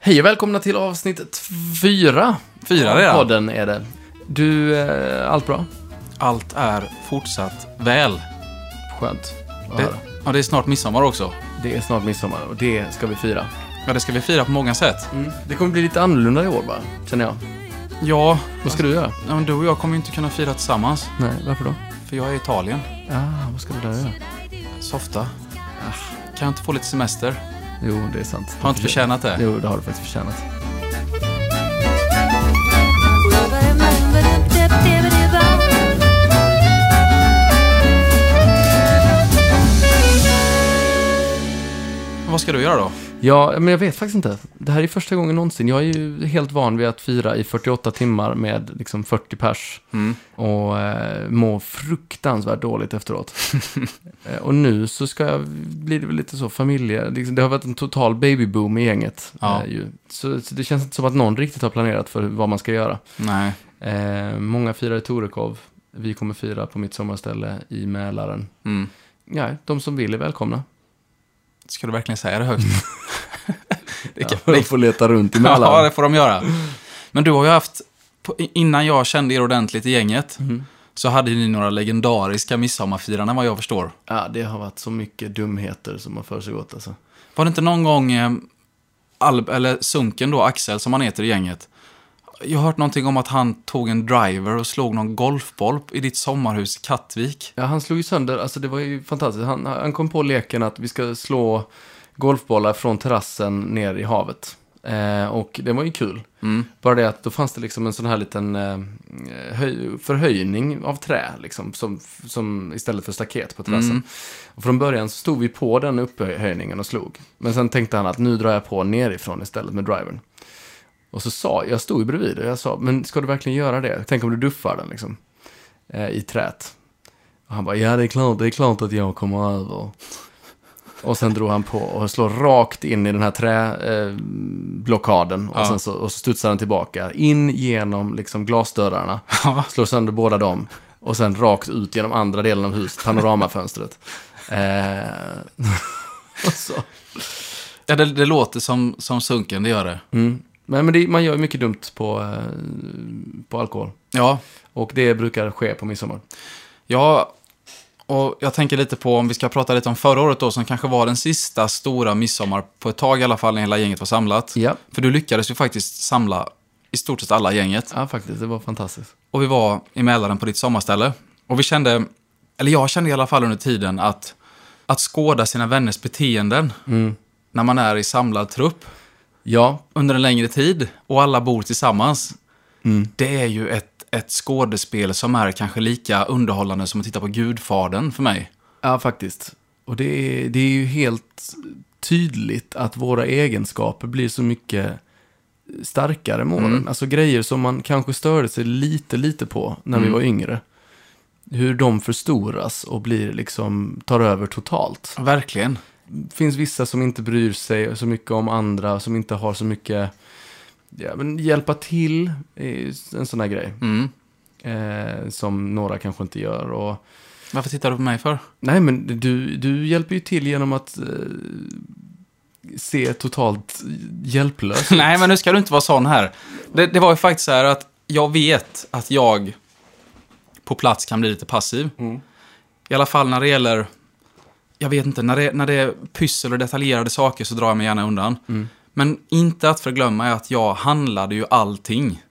Hej och välkomna till avsnitt fyra. Fyra av redan? podden är det. Du, eh, allt bra? Allt är fortsatt väl. Skönt att Det, höra. ja, det är snart midsommar också. Det är snart midsommar och det ska vi fira. Ja, det ska vi fira på många sätt. Det kommer bli lite annorlunda i år bara, känner jag. Ja, Vad ska du göra? ja, men du och jag kommer ju inte kunna fira tillsammans. Nej, varför då? För jag är i Italien. Ah, vad ska du där göra? Softa. Ah, Kan jag inte få lite semester? Jo, det är sant. Har jag inte förtjänat det? Jo, det har du faktiskt förtjänat. Men vad ska du göra då? Ja, men jag vet faktiskt inte. Det här är första gången någonsin. Jag är ju helt van vid att fira i 48 timmar med liksom 40 pers och eh, må fruktansvärt dåligt efteråt. eh, och nu så ska jag, blir det väl lite så familje... Liksom, det har varit en total babyboom i gänget. Ja. Eh, ju. Så, så det känns inte som att någon riktigt har planerat för vad man ska göra. Nej. Eh, många firar i Torekov. Vi kommer fira på mitt sommarställe i Mälaren. Mm. Ja, de som vill är välkomna. Ska du verkligen säga det högt? det kan De får leta runt i Mälaren. Ja, det får de göra. Men du har ju haft, på- innan jag kände er ordentligt i gänget, så hade ni några legendariska midsommarfiranden vad jag förstår. Ja, det har varit så mycket dumheter som har försiggått alltså. Var det inte någon gång eh, Alb, eller Sunken då, Axel som han heter i gänget. Jag har hört någonting om att han tog en driver och slog någon golfboll i ditt sommarhus i Kattvik. Ja, han slog ju sönder, alltså det var ju fantastiskt. Han, han kom på leken att vi ska slå golfbollar från terrassen ner i havet. Eh, och det var ju kul. Bara det att då fanns det liksom en sån här liten eh, höj, förhöjning av trä, liksom, som, som istället för staket på terrassen. Och från början så stod vi på den upphöjningen och slog. Men sen tänkte han att nu drar jag på nerifrån istället med drivern. Och så sa, jag stod ju bredvid och jag sa, men ska du verkligen göra det? Tänk om du duffar den liksom, eh, i trät. Och han bara, ja det är klart, det är klart att jag kommer över. Och sen drog han på och slår rakt in i den här träblockaden. Eh, blockaden. och, Ja. sen så, och så studsar han tillbaka. In genom liksom, glasdörrarna. Slår sönder båda dem. Och sen rakt ut genom andra delen av huset, panoramafönstret. Eh, och så. Ja, det, det låter som, som Sunken, det gör det. Mm. Nej, men det, man gör ju mycket dumt på, eh, på alkohol. Ja, Och det brukar ske på midsommar. ja, och jag tänker lite på om vi ska prata lite om förra året då, som kanske var den sista stora midsommar på ett tag i alla fall, när hela gänget var samlat. Ja, För du lyckades ju faktiskt samla i stort sett alla i gänget. ja faktiskt. Det var fantastiskt. och vi var i Mälaren på ditt sommarställe. Och vi kände, eller jag kände i alla fall under tiden att, att skåda sina vänners beteenden när man är i samlad trupp Ja, under en längre tid och alla bor tillsammans. Det är ju ett, ett skådespel som är kanske lika underhållande som att titta på Gudfadern för mig. Ja, faktiskt. Och det är, det är ju helt tydligt att våra egenskaper blir så mycket starkare med åren. Alltså grejer som man kanske störde sig lite, lite på när vi var yngre. Hur de förstoras och blir liksom, tar över totalt. Verkligen. Det finns vissa som inte bryr sig så mycket om andra, som inte har så mycket, ja men hjälpa till, är ju en sån här grej. Mm. Eh, som några kanske inte gör. Och, Varför tittar du på mig för? Nej, men du, du hjälper ju till genom att eh, se totalt hjälplös. Nej, men nu ska du inte vara sån här. Det, det var ju faktiskt så här att jag vet att jag på plats kan bli lite passiv. I alla fall när det gäller, jag vet inte, när det, när det är pyssel och detaljerade saker så drar jag mig gärna undan. Men inte att förglömma är att jag handlade ju allting.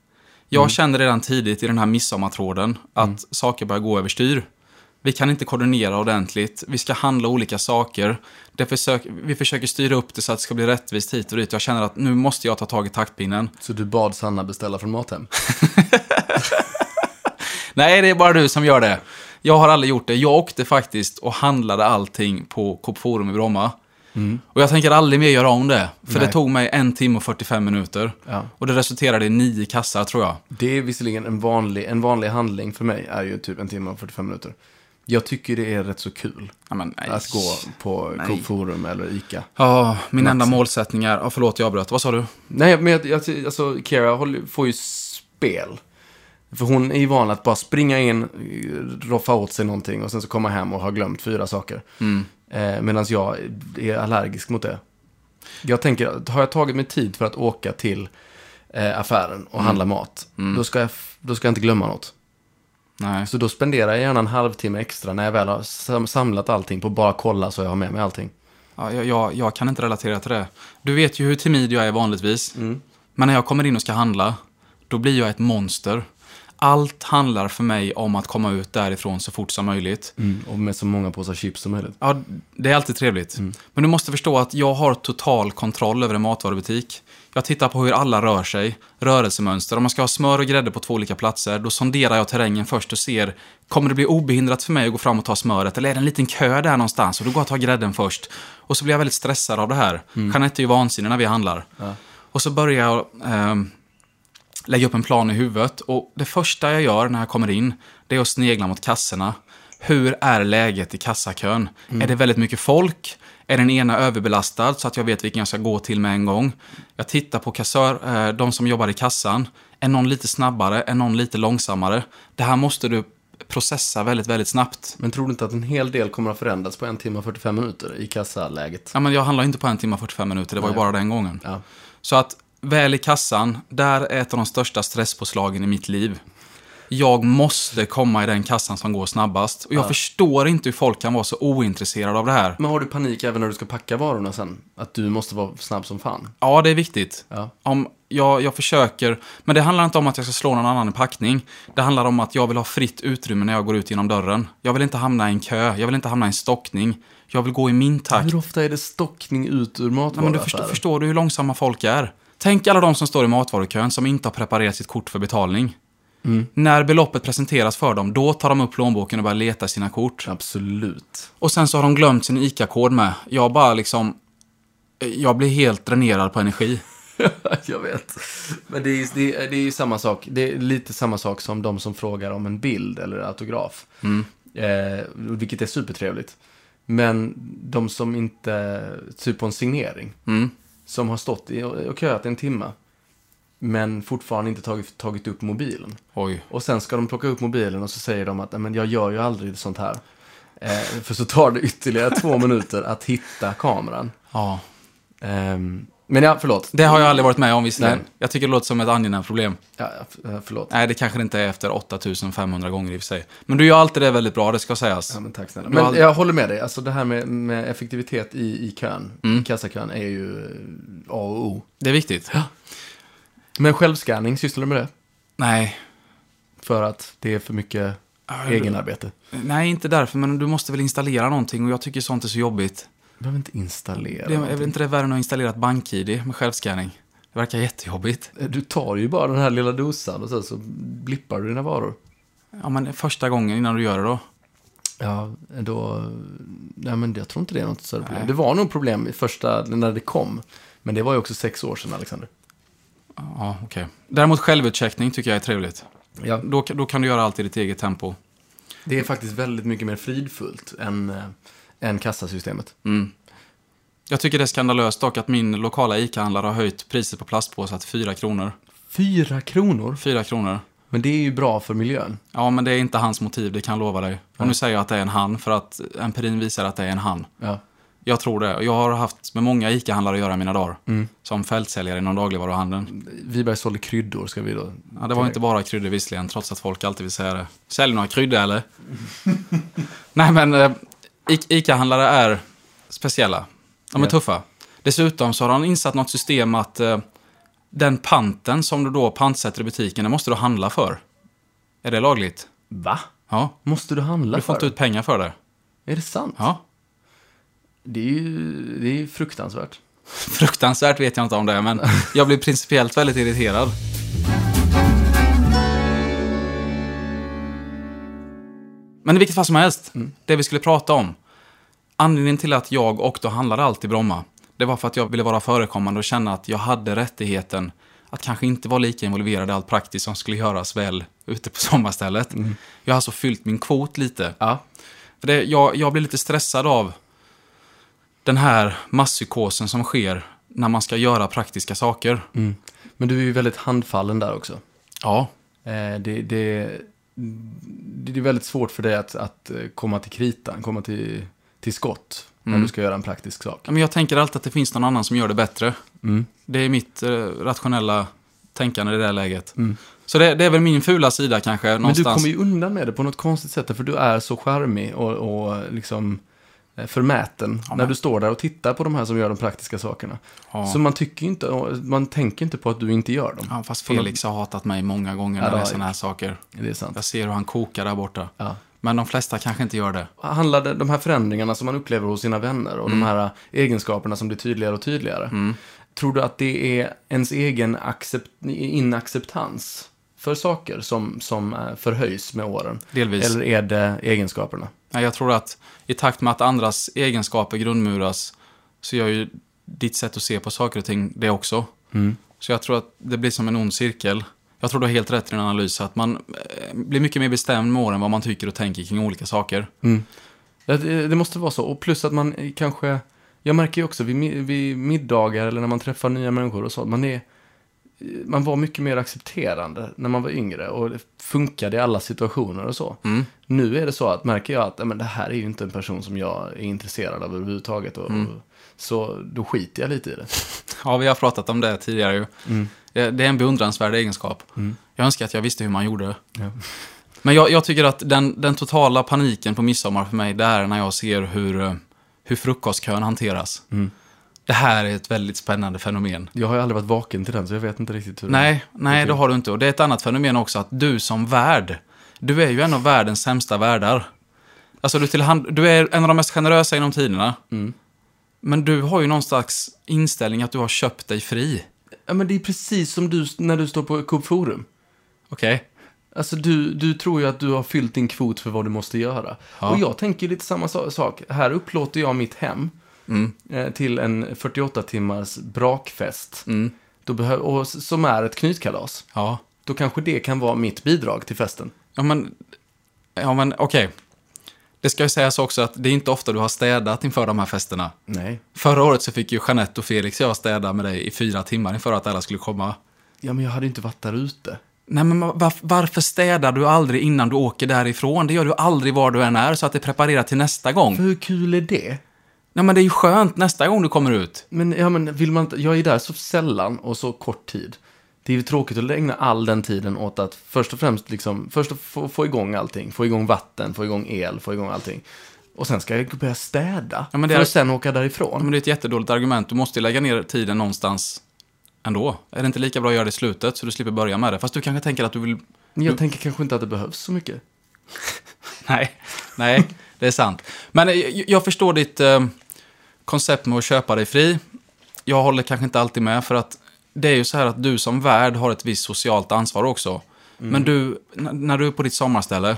Jag kände redan tidigt i den här midsommartråden att saker börjar gå överstyr. Vi kan inte koordinera ordentligt, vi ska handla olika saker. Det försök, vi försöker styra upp det så att det ska bli rättvist hit och dit. Jag känner att nu måste jag ta tag i taktpinnen. Så du bad Sanna beställa från Mathem? Nej, det är bara du som gör det. Jag har aldrig gjort det. Jag åkte faktiskt och handlade allting på Coop Forum i Bromma. Och jag tänker aldrig mer göra om det. För Mm. Nej. det tog mig en timme och 45 minuter. Ja. Och det resulterade i nio kassar tror jag. Det är visserligen en vanlig, en vanlig handling för mig, är ju typ en timme och 45 minuter. Jag tycker det är rätt så kul Ja, men, nej. att gå på Nej. Coop Forum eller Ica. Ja, min enda målsättning är... Ja, förlåt, jag avbröt. Vad sa du? Nej, men jag, jag, alltså, Kira håller, får ju spel. För hon är ju van att bara springa in, eh, roffa åt sig någonting och sen så komma hem och ha glömt fyra saker. Mm. Eh, Medan jag är allergisk mot det. Jag tänker, att har jag tagit mig tid för att åka till eh, affären och handla mat, då, ska jag, f- då ska jag inte glömma något. Nej. Så då spenderar jag gärna en halvtimme extra när jag väl har sam- samlat allting på att bara kolla så jag har med mig allting. Ja, jag, jag, jag kan inte relatera till det. Du vet ju hur timid jag är vanligtvis. Mm. Men när jag kommer in och ska handla, då blir jag ett monster. Allt handlar för mig om att komma ut därifrån så fort som möjligt. Och med så många påsar chips som möjligt. Ja, det är alltid trevligt. Men du måste förstå att jag har total kontroll över en matvarubutik. Jag tittar på hur alla rör sig, rörelsemönster. Om man ska ha smör och grädde på två olika platser, då sonderar jag terrängen först och ser, kommer det bli obehindrat för mig att gå fram och ta smöret? Eller är det en liten kö där någonstans? Och då går jag och tar grädden först. Och så blir jag väldigt stressad av det här. Jeanette är ju vansinnig när vi handlar. Och så börjar jag ehm, lägga upp en plan i huvudet. Och det första jag gör när jag kommer in, det är att snegla mot kassorna. Hur är läget i kassakön? Är det väldigt mycket folk? Är den ena överbelastad så att jag vet vilken jag ska gå till med en gång? Jag tittar på kassör, eh, de som jobbar i kassan. Är någon lite snabbare? Är någon lite långsammare? Det här måste du processa väldigt, väldigt snabbt. Men tror du inte att en hel del kommer att förändras på en timme och 45 minuter i kassaläget? Ja, men jag handlar inte på en timme och 45 minuter, det var ju bara den gången. Ja. Så att väl i kassan, där är ett av de största stresspåslagen i mitt liv. Jag måste komma i den kassan som går snabbast. Och jag förstår inte hur folk kan vara så ointresserade av det här. Men har du panik även när du ska packa varorna sen? Att du måste vara snabb som fan? Ja, det är viktigt. Ja. Om jag, jag försöker, men det handlar inte om att jag ska slå någon annan i packning. Det handlar om att jag vill ha fritt utrymme när jag går ut genom dörren. Jag vill inte hamna i en kö, jag vill inte hamna i en stockning. Jag vill gå i min takt. Hur ofta är det stockning ut ur Nej, men du förstår, matvaruaffären? förstår du hur långsamma folk är? Tänk alla de som står i matvarukön som inte har preparerat sitt kort för betalning. Mm. När beloppet presenteras för dem, då tar de upp plånboken och börjar leta i sina kort. Absolut. Och sen så har de glömt sin ICA-kod med. Jag bara liksom... Jag blir helt dränerad på energi. jag vet. Men det är, det, är, det är ju samma sak. Det är lite samma sak som de som frågar om en bild eller autograf. Mm. Eh, vilket är supertrevligt. Men de som inte, typ på en signering, Mm. som har stått i, och köat en timme, men fortfarande inte tagit, tagit upp mobilen. Oj. Och sen ska de plocka upp mobilen och så säger de att "Nej, men jag gör ju aldrig sånt här. Eh, för så tar det ytterligare två minuter att hitta kameran. Ja. Ehm, men ja, förlåt. Det har jag aldrig varit med om visserligen. Nej. Jag tycker det låter som ett angenämt problem. Ja, ja, f- eh, förlåt. Nej, det kanske det inte är efter 8500 gånger i och för sig. Men du gör alltid det väldigt bra, det ska sägas. Ja, men tack snälla. Du har Men aldrig- jag håller med dig. Alltså det här med, med effektivitet i, i kön, i kassakön, är ju eh, A och O. Det är viktigt. Men självscanning, sysslar du med det? Nej. För att det är för mycket egenarbete. Nej, inte därför, men du måste väl installera någonting och jag tycker sånt är så jobbigt. Du behöver inte installera. Det, är väl inte det värre än att installera ett bank-id med självscanning? Det verkar jättejobbigt. Eh, Du tar ju bara den här lilla dosan och sen så blippar du dina varor. Ja, men första gången innan du gör det då? Ja, då... Nej, men jag tror inte det är något större problem. Det var nog problem i första, när det kom. Men det var ju också sex år sedan, Alexander. Ja, okej. Däremot självutcheckning tycker jag är trevligt. Ja, Då, då kan du göra allt i ditt eget tempo. det är faktiskt väldigt mycket mer fridfullt än, eh, än kassasystemet. Mm. Jag tycker det är skandalöst dock att min lokala ICA-handlare har höjt priset på plastpåsar till 4 kronor. Fyra kronor? 4 kronor. Men det är ju bra för miljön. Ja, men det är inte hans motiv, det kan jag lova dig. Och nu säger jag att det är en han, för att empirin visar att det är en han. Ja. Jag tror det. Och Jag har haft med många ICA-handlare att göra i mina dagar. Mm. Som fältsäljare inom dagligvaruhandeln. Viberg sålde kryddor, ska vi då... Ja, det var inte bara kryddor visserligen, trots att folk alltid vill säga det. Sälj några kryddor eller? Nej, men eh, I- ICA-handlare är speciella. De är Ja. tuffa. Dessutom så har han insatt något system att eh, den panten som du då pantsätter i butiken, den måste du handla för. Är det lagligt? Va? Ja. Måste du handla Du för? får inte ut pengar för det. Är det sant? Ja. Det är ju det är ju fruktansvärt. Fruktansvärt vet jag inte om det är, men jag blir principiellt väldigt irriterad. Men i vilket fall som helst, det vi skulle prata om. Anledningen till att jag åkte och handlade allt i Bromma, det var för att jag ville vara förekommande och känna att jag hade rättigheten att kanske inte vara lika involverad i allt praktiskt som skulle göras väl ute på sommarstället. Jag har alltså fyllt min kvot lite. Ja. För det, jag, jag blir lite stressad av den här masspsykosen som sker när man ska göra praktiska saker. Men du är ju väldigt handfallen där också. Ja. Eh, det, det, det är väldigt svårt för dig att, att eh, komma till kritan, komma till, till skott. när du ska göra en praktisk sak. Mm. Ja, men jag tänker alltid att det finns någon annan som gör det bättre. Mm. Det är mitt eh, rationella tänkande i det här läget. Så det, det är väl min fula sida kanske, Mm. Men du någonstans. kommer ju undan med det på något konstigt sätt, för du är så charmig och, och liksom eh, förmäten Ja, men- när du står där och tittar på de här som gör de praktiska sakerna. ja. Så man tycker ju inte, man tänker inte på att du inte gör dem. ja, fast Felix har hatat mig många gånger Ja, när det är det- sådana här saker. Det är sant. Jag ser hur han kokar där borta. Ja. Men de flesta kanske inte gör det. handlade de här förändringarna som man upplever hos sina vänner och de här eh, egenskaperna som blir tydligare och tydligare. Tror du att det är ens egen accept, inacceptans för saker som, som eh, förhöjs med åren? Delvis. Eller är det egenskaperna? Nej, jag tror att i takt med att andras egenskaper grundmuras så gör ju ditt sätt att se på saker och ting det också. Så jag tror att det blir som en ond cirkel. Jag tror du har helt rätt i din analys, att man eh, blir mycket mer bestämd med åren vad man tycker och tänker kring olika saker. Ja, Det, det måste vara så. Och plus att man eh, kanske, jag märker ju också vid, mi- vid middagar eller när man träffar nya människor och så, man är eh, man var mycket mer accepterande när man var yngre och det funkade i alla situationer och så. Mm. Nu är det så att märker jag att "Nej, men det här är ju inte en person som jag är intresserad av överhuvudtaget. Och, och, så då skiter jag lite i det. Ja, vi har pratat om det tidigare ju. Eh, Det, det är en beundransvärd egenskap. Jag önskar att jag visste hur man gjorde. Ja. Men jag, jag tycker att den, den totala paniken på midsommar för mig, det är när jag ser hur, eh, hur frukostkön hanteras. Det här är ett väldigt spännande fenomen. Jag har ju aldrig varit vaken till den så jag vet inte riktigt hur Nej, nej det har du inte. Och det är ett annat fenomen också, att du som värd, du är ju en av världens sämsta värdar. Alltså du, tillhand- du är en av de mest generösa inom tiderna. Men du har ju någon slags inställning att du har köpt dig fri. Ja, men det är precis som du när du står på Coop Forum. Okej? Alltså du, du tror ju att du har fyllt din kvot för vad du måste göra. Ja. Och jag tänker ju lite samma sa- sak. Här upplåter jag mitt hem Mm. eh, till en 48 timmars brakfest. Mm. Då behö- och, s- som är ett knytkalas. Ja. Då kanske det kan vara mitt bidrag till festen. Ja, men, ja, men okej. Det ska ju sägas också att det är inte ofta du har städat inför de här festerna. Nej. Förra året så fick ju Jeanette och Felix och jag städa med dig i fyra timmar inför att alla skulle komma. Ja, men jag hade ju inte varit där ute. Nej, men varf- varför städar du aldrig innan du åker därifrån? Det gör du aldrig var du än är, så att det preparerar till nästa För gång. hur kul är det? Nej, men det är ju skönt nästa gång du kommer ut. Men, ja, men vill man inte, jag är där så sällan och så kort tid. Det är ju tråkigt att ägna all den tiden åt att först och främst liksom, först att få, få igång allting, få igång vatten, få igång el, få igång allting. Och sen ska jag börja städa, Ja, men det för är- att sen åka Ja, därifrån. men det är ett jättedåligt argument. Du måste ju lägga ner tiden någonstans ändå. Är det inte lika bra att göra det i slutet, så du slipper börja med det? Fast du kanske tänker att du vill Men jag tänker kanske inte att det behövs så mycket. Nej, nej, det är sant. Men eh, jag, jag förstår ditt eh, koncept med att köpa dig fri. Jag håller kanske inte alltid med, för att det är ju så här att du som värd har ett visst socialt ansvar också. Men du, n- när du är på ditt sommarställe,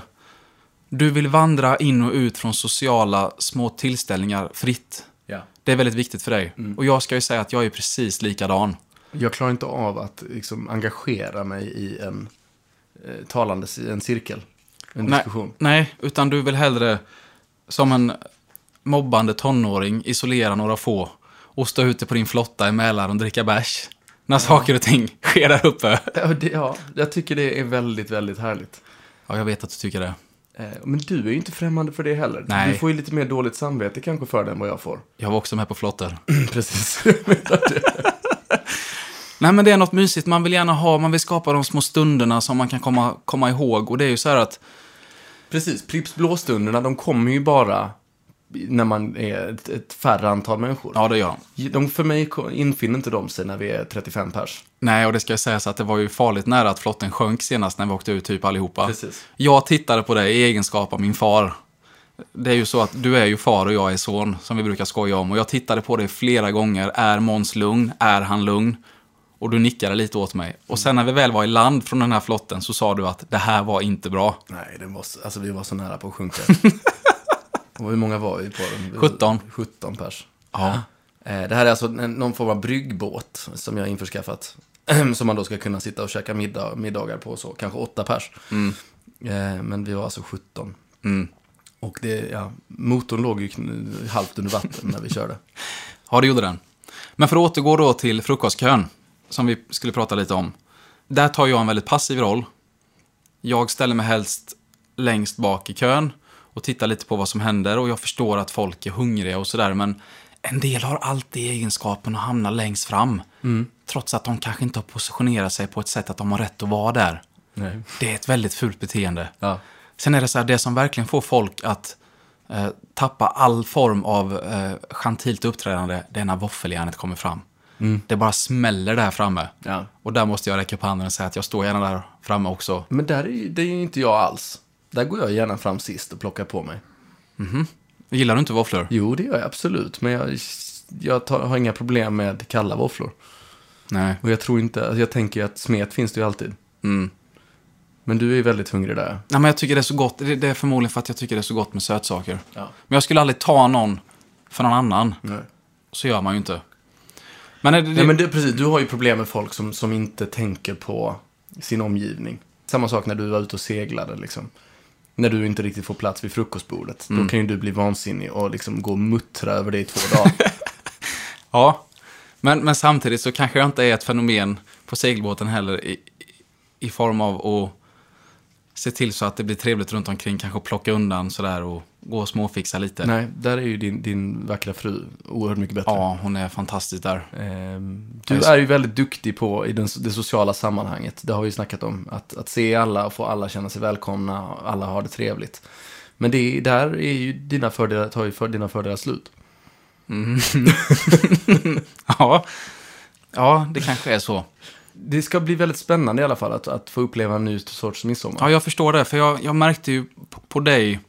du vill vandra in och ut från sociala små tillställningar fritt. Ja. Det är väldigt viktigt för dig. Och jag ska ju säga att jag är precis likadan. Jag klarar inte av att liksom, engagera mig i en eh, talande ci- en cirkel, en diskussion. Nej, nej, utan du vill hellre som en mobbande tonåring isolera några få och stå ute på din flotta i Mälaren och dricka bärs. När saker och ting sker där uppe. Ja, det, ja, jag tycker det är väldigt, väldigt härligt. Ja, jag vet att du tycker det. Eh, Men du är ju inte främmande för det heller. Nej. Du får ju lite mer dåligt samvete kanske för det än vad jag får. Jag var också med på flottor. Mm, Precis. Nej, men det är något mysigt. Man vill gärna ha, man vill skapa de små stunderna som man kan komma, komma ihåg. Och det är ju så här att Precis. Pripps blåstunderna, de kommer ju bara när man är ett, ett färre antal människor. Ja, det gör de. De, för mig ko- infinner inte de sig när vi är 35 pers. Nej, och det ska jag säga så att det var ju farligt nära att flotten sjönk senast när vi åkte ut typ allihopa. Precis. Jag tittade på dig i egenskap av min far. Det är ju så att du är ju far och jag är son, som vi brukar skoja om. Och jag tittade på dig flera gånger. Är Måns lugn? Är han lugn? Och du nickade lite åt mig. Och sen när vi väl var i land från den här flotten så sa du att det här var inte bra. Nej, det var, så- alltså, vi var så nära på att sjunka. Och hur många var vi på den? 17. 17 pers. Ja. Eh, Det här är alltså en- någon form av bryggbåt som jag har införskaffat. som man då ska kunna sitta och käka middag, middagar på så, kanske åtta pers. Eh, Men vi var alltså 17. Mm. Och det, ja, motorn låg ju kn- halvt under vatten när vi körde. Ja, det gjorde den. Men för att återgå då till frukostkön, som vi skulle prata lite om. Där tar jag en väldigt passiv roll. Jag ställer mig helst längst bak i kön och tittar lite på vad som händer och jag förstår att folk är hungriga och sådär men en del har alltid egenskapen att hamna längst fram. Mm. Trots att de kanske inte har positionerat sig på ett sätt att de har rätt att vara där. Nej. Det är ett väldigt fult beteende. Ja. Sen är det så här, det som verkligen får folk att eh, tappa all form av eh, gentilt uppträdande, det är när våffeljärnet kommer fram. Det bara smäller där framme. Ja. Och där måste jag räcka upp handen och säga att jag står gärna där framme också. Men där är, ju- det är ju inte jag alls. Där går jag gärna fram sist och plockar på mig. Gillar du inte våfflor? Jo, det gör jag absolut. Men jag, jag tar, har inga problem med kalla våfflor. Nej. Och jag tror inte, alltså jag tänker att smet finns det ju alltid. Mm. Men du är ju väldigt hungrig där. Nej, men jag tycker det är så gott. Det, det är förmodligen för att jag tycker det är så gott med sötsaker. Ja. Men jag skulle aldrig ta någon för någon annan. Nej. Så gör man ju inte. Men, är det, Nej, men det, precis. Du har ju problem med folk som, som inte tänker på sin omgivning. Samma sak när du var ute och seglade, liksom. När du inte riktigt får plats vid frukostbordet. Då kan ju du bli vansinnig och liksom gå och muttra över det i två dagar. Ja, men, men samtidigt så kanske jag inte är ett fenomen på segelbåten heller i, i- i form av att se till så att det blir trevligt runt omkring, kanske plocka undan sådär och gå och småfixa lite. Nej, där är ju din, din vackra fru oerhört mycket bättre. Ja, hon är fantastisk där. Ehm, Du är ju väldigt duktig på i den, det sociala sammanhanget. Det har vi ju snackat om. Att, att se alla och få alla känna sig välkomna. och Alla har det trevligt. Men det, där är ju dina fördelar, tar ju för, dina fördelar slut. Ja. ja, det kanske är så. Det ska bli väldigt spännande i alla fall att, att få uppleva en ny sorts midsommar. Ja, jag förstår det, för jag, jag märkte ju på, på dig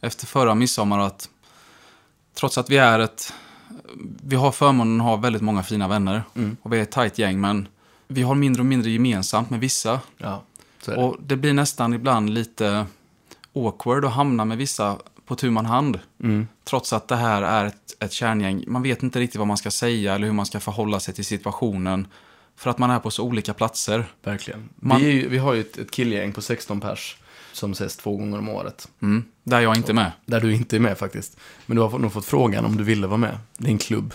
efter förra midsommar att trots att vi är ett... Vi har förmånen att ha väldigt många fina vänner och vi är ett tajt gäng, men vi har mindre och mindre gemensamt med vissa. Ja, så är det. Och det blir nästan ibland lite awkward att hamna med vissa på tu man hand. Trots att det här är ett, ett kärngäng. Man vet inte riktigt vad man ska säga eller hur man ska förhålla sig till situationen. För att man är på så olika platser. Verkligen. Man- Vi, är ju, vi har ju ett, ett killgäng på 16 pers som ses två gånger om året. Mm. Där jag inte är med. Där du inte är med faktiskt. Men du har fått- nog fått frågan om du ville vara med. Det är en klubb.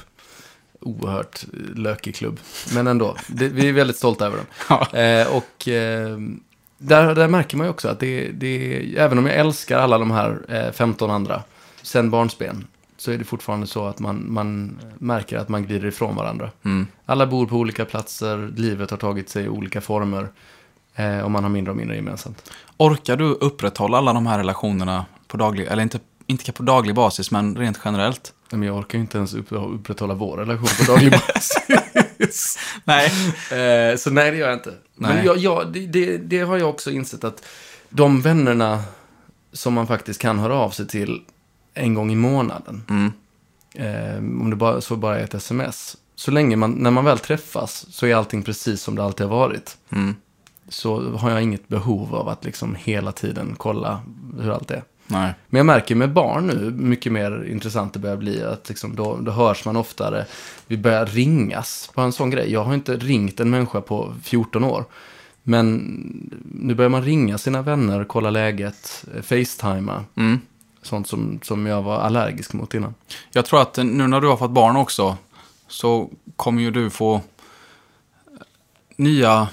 Oerhört eh, lökig klubb. Men ändå, det, vi är väldigt stolta över dem. Ja. Eh, och eh, där, där märker man ju också att det, det även om jag älskar alla de här eh, 15 andra sen barnsben så är det fortfarande så att man, man märker att man glider ifrån varandra. Mm. Alla bor på olika platser, livet har tagit sig olika former eh, och man har mindre och mindre gemensamt. Orkar du upprätthålla alla de här relationerna på daglig, eller inte, inte på daglig basis, men rent generellt? Nej, Men jag orkar ju inte ens upp- upprätthålla vår relation på daglig basis. Nej. Eh, så nej, det gör jag inte. Men Nej. jag, jag, det, det, det har jag också insett att de vännerna som man faktiskt kan höra av sig till en gång i månaden, Mm. eh, om det bara, så bara är ett sms, så länge man, när man väl träffas så är allting precis som det alltid har varit. Mm. Så har jag inget behov av att liksom hela tiden kolla hur allt är. Nej. Men jag märker med barn nu, hur mycket mer intressant det börjar bli, att liksom då, då hörs man oftare. Vi börjar ringas på en sån grej. Jag har inte ringt en människa på 14 år. Men nu börjar man ringa sina vänner, kolla läget, eh, facetima. Mm. Sånt som, som jag var allergisk mot innan. Jag tror att nu när du har fått barn också så kommer ju du få eh, nya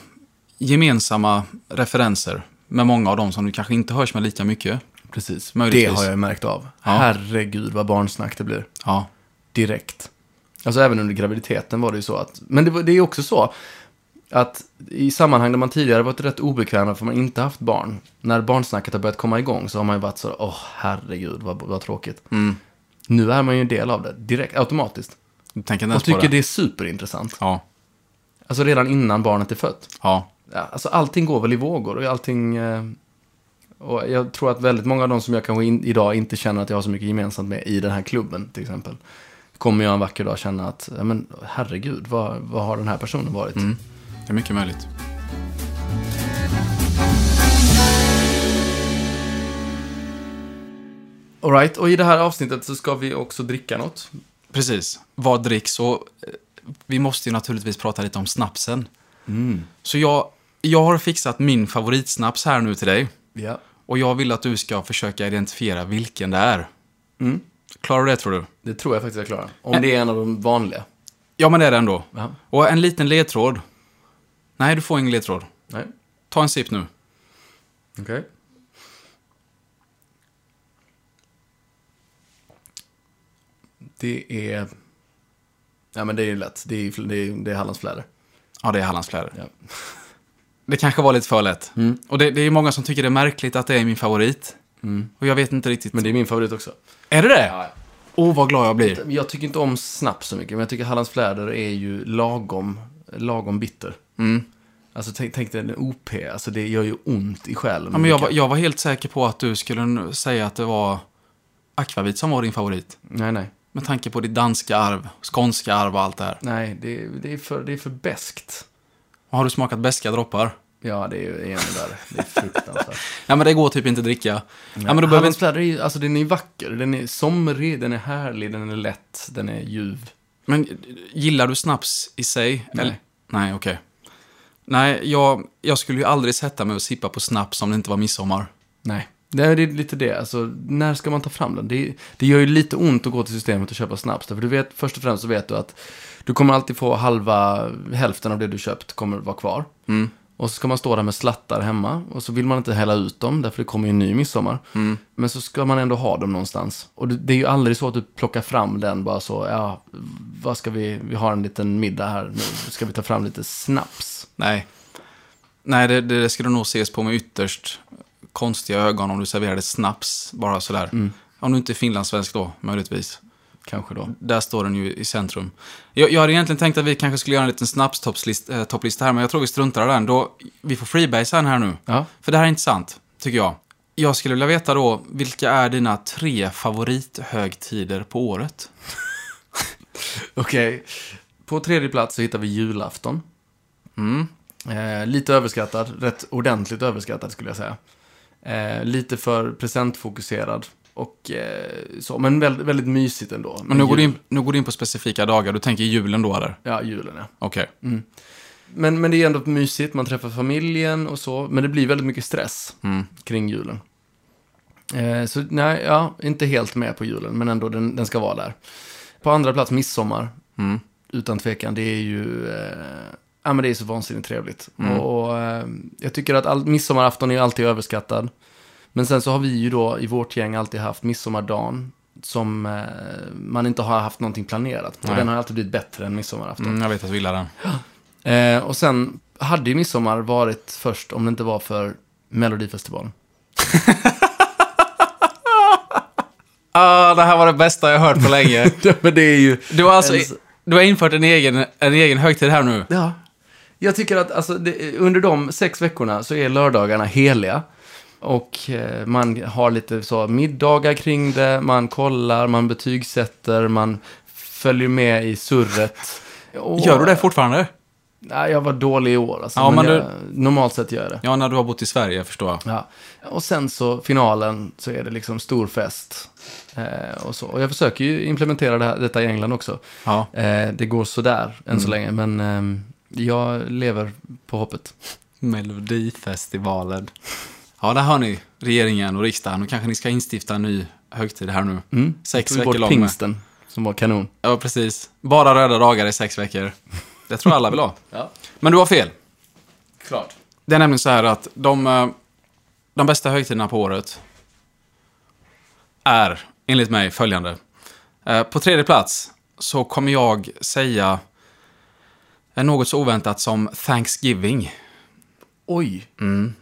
gemensamma referenser med många av dem som du kanske inte hörs med lika mycket. Precis, möjligtvis. det har jag märkt av. Ja. Herregud vad barnsnack det blir. Ja. direkt. Alltså även under graviditeten var det ju så att, men det, var- det är ju också så att i sammanhang där man tidigare varit rätt obekväm för man inte haft barn, när barnsnacket har börjat komma igång så har man ju varit så, åh herregud vad, vad tråkigt. Mm. Nu är man ju en del av det, direkt, automatiskt. Du tänker inte Jag ens på tycker det. det är superintressant. Ja. Alltså redan innan barnet är fött. Ja. Ja, alltså allting går väl i vågor och allting... Eh, och jag tror att väldigt många av de som jag kanske in, idag inte känner att jag har så mycket gemensamt med i den här klubben till exempel. Kommer jag en vacker dag känna att, ja, men herregud, vad, vad har den här personen varit? Mm. Det är mycket möjligt. All right, och i det här avsnittet så ska vi också dricka något. Precis. Vad dricks? Och eh, vi måste ju naturligtvis prata lite om snapsen. Så jag, jag har fixat min favoritsnaps här nu till dig. Ja. Och jag vill att du ska försöka identifiera vilken det är. Mm. Klarar du det tror du? Det tror jag faktiskt jag klarar. Om det är en av de vanliga. Ja, men det är det ändå. Ja. Och en liten ledtråd. Nej, du får ingen ledtråd. Nej, Ta en sipp nu. okej. Det är... Ja, men det är ju lätt. Det är, det är, det är Hallandsfläder. Ja, det är Hallandsfläder. Ja. Mm. Det kanske var lite för lätt. Och det, det är ju många som tycker det är märkligt att det är min favorit. Och jag vet inte riktigt. Mm. Men det är min favorit också. Är det det? Åh, vad glad jag blir. Jag tycker inte om snaps så mycket, men jag tycker Hallandsfläder är ju lagom, lagom bitter. Alltså tänk, tänk dig en OP, alltså det gör ju ont i själen. Ja, men jag, var- jag var helt säker på att du skulle nu säga att det var Akvavit som var din favorit. Nej, nej. Med tanke på ditt danska arv, skånska arv och allt det här. Nej, det, det, är, för, det är för beskt. Och har du smakat beska droppar? Ja, det är ju ännu värre. Det är fruktansvärt. Ja, men det går typ inte att dricka. Ja, men då behöver vi inte... Hallandsfläder är ju, alltså den är vacker, den är somrig, den är härlig, den är lätt, den är ljuv. Men gillar du snaps i sig? Nej. Nej, okej. Nej, jag, jag skulle ju aldrig sätta mig och sippa på snaps om det inte var midsommar. Nej. Det är lite det, alltså när ska man ta fram den? Det, det gör ju lite ont att gå till systemet och köpa snaps. För du vet, först och främst så vet du att du kommer alltid få halva, hälften av det du köpt kommer vara kvar. Och så ska man stå där med slattar hemma och så vill man inte hälla ut dem därför det kommer ju en ny midsommar. Men så ska man ändå ha dem någonstans. Och det, det är ju aldrig så att du plockar fram den bara så, ja, vad ska vi, vi har en liten middag här nu, ska vi ta fram lite snaps? Nej. Nej, det, det, det skulle nog ses på med ytterst konstiga ögon om du serverade snaps bara sådär. Om du inte är finlandssvensk då, möjligtvis. Kanske då. Där står den ju i centrum. Jag, jag hade egentligen tänkt att vi kanske skulle göra en liten snapstopplista eh, topplista här, men jag tror vi struntar i den. Då, vi får freebasea den här nu. Ja. För det här är intressant, tycker jag. Jag skulle vilja veta då, vilka är dina tre favorithögtider på året? Okej. På tredje plats så hittar vi julafton. Eh, lite överskattad, rätt ordentligt överskattad skulle jag säga. Eh, lite för presentfokuserad och eh, så, men väldigt, väldigt mysigt ändå. Men nu går, du Jul- in, nu går du in på specifika dagar, du tänker julen då eller? Ja, julen ja. Mm. Okej. Men, men det är ändå mysigt, man träffar familjen och så, men det blir väldigt mycket stress Mm. kring julen. Eh, så nej, ja, inte helt med på julen, men ändå den, den ska vara där. På andra plats, midsommar. Mm. Utan tvekan, det är ju... Eh, ja, men det är så vansinnigt trevligt. Och, och, eh, jag tycker att all, midsommarafton är ju alltid överskattad. Men sen så har vi ju då i vårt gäng alltid haft midsommardagen som eh, man inte har haft någonting planerat på. Nej. Den har alltid blivit bättre än midsommarafton. Mm, jag vet att du gillar den. Eh, och sen hade ju midsommar varit först om det inte var för Melodifestivalen. Ah, det här var det bästa jag hört på länge. men det är ju... Du har alltså Ens- du har infört en egen, en egen högtid här nu. Ja. Jag tycker att alltså, det, under de sex veckorna så är lördagarna heliga. Och eh, man har lite så middagar kring det, man kollar, man betygsätter, man följer med i surret. Och- Gör du det fortfarande? Nej, jag var dålig i år. Alltså, Ja, men men jag, Normalt sett gör jag det. Ja, när du har bott i Sverige förstår jag. Ja. Och sen så finalen så är det liksom stor fest. Eh, och, så. och jag försöker ju implementera det här, detta i England också. Ja. Eh, det går sådär än Mm. så länge, men ehm, jag lever på hoppet. Melodifestivalen. Ja, där hör ni regeringen och riksdagen. Och kanske ni ska instifta en ny högtid här nu. Sex Tog veckor bort lång. med. pingsten, som var kanon. Ja, precis. Bara röda dagar i sex veckor. Det tror jag alla vill ha. Ja, Men du har fel. klart. Det är nämligen så här att de, eh, de bästa högtiderna på året är, enligt mig, följande. Eh, På tredje plats så kommer jag säga eh, något så oväntat som Thanksgiving. Oj. Mm.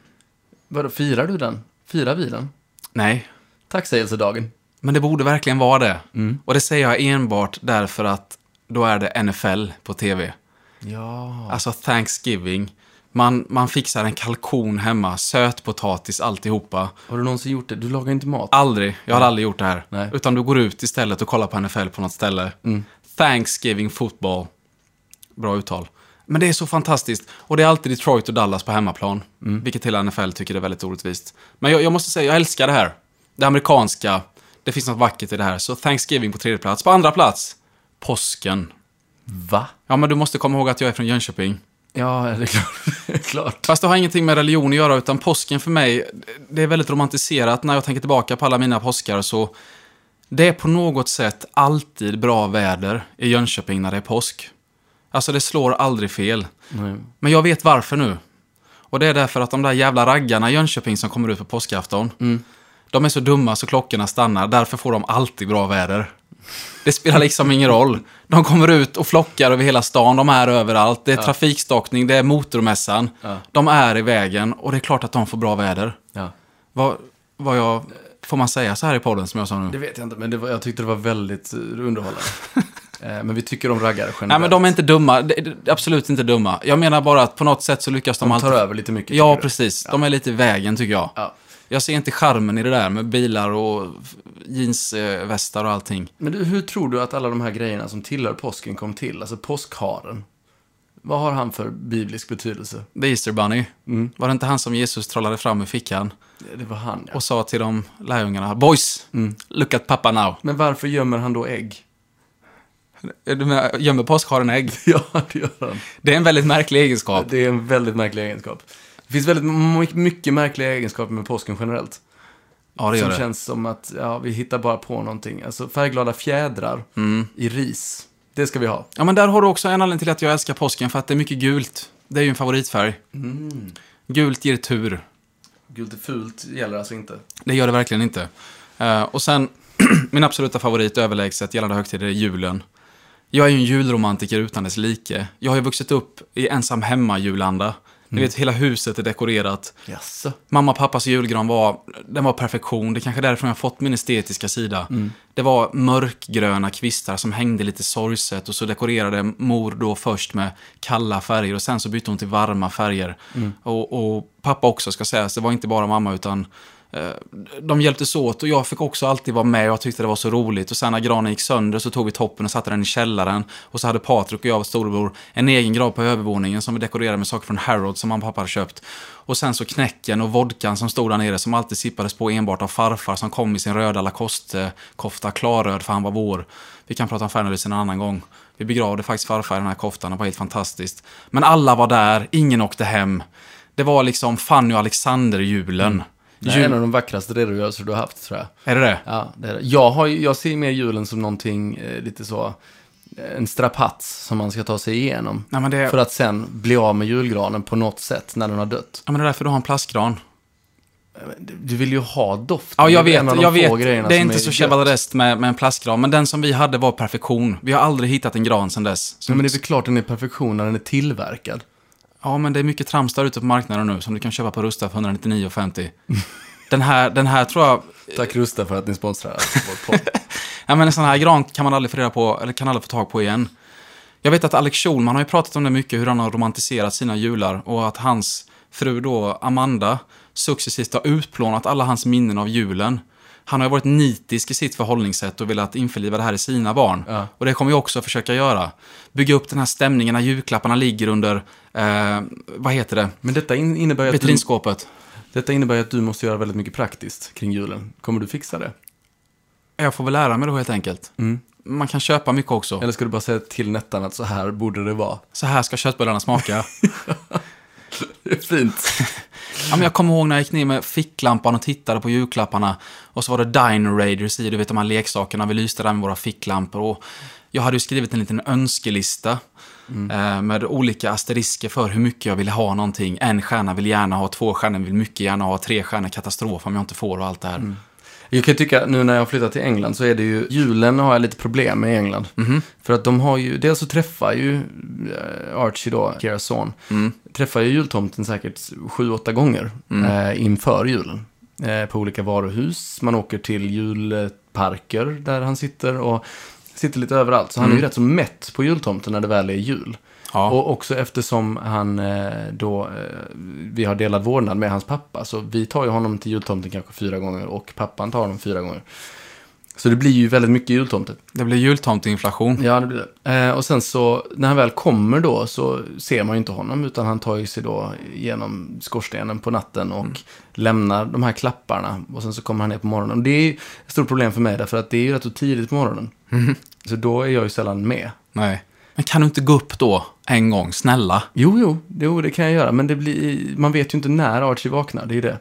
Vadå, firar du den? Firar vi den? Nej, Tacksägelsedagen. men det borde verkligen vara det. Och det säger jag enbart därför att då är det NFL på tv. Ja. Alltså Thanksgiving. Man, man fixar en kalkon hemma, sötpotatis, alltihopa. Har du någonsin gjort det? Du lagar inte mat. Aldrig. Jag har aldrig gjort det här. Nej. Mm. Utan du går ut istället och kollar på NFL på något ställe. Thanksgiving football. Bra uttal. Men det är så fantastiskt. Och det är alltid Detroit och Dallas på hemmaplan. Mm. Vilket hela NFL tycker är väldigt orättvist. Men jag, jag måste säga, jag älskar det här. Det amerikanska. Det finns något vackert i det här. Så Thanksgiving på tredje plats. På andra plats, påsken. Va? Ja, men du måste komma ihåg att jag är från Jönköping. Ja, det är klart. klart. Fast det har ingenting med religion att göra, utan påsken för mig, det är väldigt romantiserat när jag tänker tillbaka på alla mina påskar. Så det är på något sätt alltid bra väder i Jönköping när det är påsk. Alltså det slår aldrig fel. Nej. Men jag vet varför nu. Och det är därför att de där jävla raggarna i Jönköping som Mm. kommer ut på påskafton, de är så dumma så klockorna stannar. Därför får de alltid bra väder. Det spelar liksom ingen roll. De kommer ut och flockar över hela stan, de är överallt. Det är trafikstockning, det är motormässan. Ja. De är i vägen och det är klart att de får bra väder. Ja. Vad, vad jag... Får man säga så här i podden som jag sa nu? Det vet jag inte, men det var, jag tyckte det var väldigt eh, underhållande. eh, men vi tycker om raggare generellt. Nej, men de är inte dumma. Det- det- Absolut inte dumma. Jag menar bara att på något sätt så lyckas de, De alltid... tar över lite mycket. Ja, tycker du? precis. De är lite i vägen, tycker jag. Ja. Jag ser inte charmen i det där med bilar och f- jeansvästar och allting. Men du, hur tror du att alla de här grejerna som tillhör påsken kom till? Alltså påskharen. Vad har han för biblisk betydelse? The Easter Bunny. Var det inte han som Jesus trollade fram ur fickan Det- Det var han, ja. och sa till de lärjungarna, Boys, look at pappa now. Men varför gömmer han då ägg? Du menar, gömmer påskharen ägg? ja, det gör han. Det är en väldigt märklig egenskap. Det är en väldigt märklig egenskap. Det finns väldigt my- mycket märkliga egenskaper med påsken generellt. Ja, det gör som det. känns som att ja, vi hittar bara på någonting. Alltså färgglada fjädrar i ris. Det ska vi ha. Ja, men där har du också en anledning till att jag älskar påsken, för att det är mycket gult. Det är ju en favoritfärg. Mm. Gult ger tur. Gult och fult gäller alltså inte. Det gör det verkligen inte. Eh, och sen, min absoluta favorit överlägset gällande högtider är julen. Jag är ju en julromantiker utan dess like. Jag har ju vuxit upp i ensam hemma-julanda. Ni vet, hela huset är dekorerat. Jaså? Mamma och pappas julgran var, den var perfektion. Det är kanske är därifrån jag har fått min estetiska sida. Det var mörkgröna kvistar som hängde lite sorgset och så dekorerade mor då först med kalla färger och sen så bytte hon till varma färger. Och, och pappa också ska sägas, det var inte bara mamma utan eh, de hjälptes åt och jag fick också alltid vara med och jag tyckte det var så roligt. Och sen när granen gick sönder så tog vi toppen och satte den i källaren. Och så hade Patrik och jag, storebror, en egen grav på övervåningen som vi dekorerade med saker från Harrods som mamma och pappa hade köpt. Och sen så knäcken och vodkan som stod där nere som alltid sippades på enbart av farfar som kom i sin röda Lacoste-kofta, klarröd för han var vår. Vi kan prata om Fernelys en annan gång. Vi begravde faktiskt farfar i den här koftan, det var helt fantastiskt. Men alla var där, ingen åkte hem. Det var liksom Fanny och Alexander-julen. Mm. Det här är en av de vackraste redogörelser du har haft, tror jag. Är det det? Ja, det är det. Jag, har, ju- jag ser mer julen som någonting eh, lite så, eh, en strapats som man ska ta sig igenom. Nej, men det, För att sen bli av med julgranen på något sätt när den har dött. ja, men det är därför du har en plastgran. Du- Du vill ju ha doften. Ja, jag Det är vet. en av de Jag få vet. grejerna Det är som inte så gött. chevalereskt med, med en plastgran, men den som vi hade var perfektion. Vi har aldrig hittat en gran sedan dess. Så, Ja, men det är väl klart den är perfektion när den är tillverkad. Ja, men det är mycket trams där ute på marknaden nu som du kan köpa på Rusta för 199,50. den, här, den här tror jag... Tack Rusta för att ni sponsrar vår podd. Ja, men en sån här gran kan man aldrig få reda på, eller kan aldrig få tag på igen. Jag vet att Alex Schulman har ju pratat om det mycket, hur han har romantiserat sina jular och att hans fru då, Amanda, successivt har utplånat alla hans minnen av julen. Han har ju varit nitisk i sitt förhållningssätt och velat införliva det här i sina barn. Ja. Och det kommer jag också försöka göra. Bygga upp den här stämningen när julklapparna ligger under, eh, vad heter det, Men detta in- innebär ju att du, vitrinskåpet. detta innebär ju att du måste göra väldigt mycket praktiskt kring julen. Kommer du fixa det? Jag får väl lära mig då helt enkelt. Man kan köpa mycket också. Mm. Eller ska du bara säga till Nettan att så här borde det vara? Så här ska köttbullarna smaka. Det är fint. Ja, men jag kommer ihåg när jag gick ner med ficklampan och tittade på julklapparna. Och så var det Dino Raiders i, du vet de här leksakerna. Vi lyste där med våra ficklampor. Och jag hade ju skrivit en liten önskelista. Mm. Eh, med olika asterisker för hur mycket jag ville ha någonting. En stjärna vill gärna ha, två stjärnor vill mycket gärna ha, tre stjärnor katastrof om jag inte får och allt det här. Mm. Jag kan ju tycka, nu när jag har flyttat till England så är det ju, julen har jag lite problem med i England. För att de har ju, dels så träffar ju eh, Archie då, Keras son, träffar ju jultomten säkert sju, åtta gånger eh, inför julen. Eh, på olika varuhus, man åker till julparker där han sitter och sitter lite överallt. Så han är ju rätt så mätt på jultomten när det väl är jul. Ja. Och också eftersom han eh, då, eh, vi har delad vårdnad med hans pappa, så vi tar ju honom till jultomten kanske fyra gånger och pappan tar honom fyra gånger. Så det blir ju väldigt mycket jultomte. Det blir jultomteinflation. Ja, det blir det. Eh, och sen så, när han väl kommer då så ser man ju inte honom, utan han tar ju sig då genom skorstenen på natten och lämnar de här klapparna. Och sen så kommer han ner på morgonen. Och det är ju ett stort problem för mig, därför att det är ju rätt så tidigt på morgonen. Så då är jag ju sällan med. Nej. Men kan du inte gå upp då en gång, snälla? Jo, jo, jo, det kan jag göra. Men det blir, man vet ju inte när Archie vaknar, det är ju det.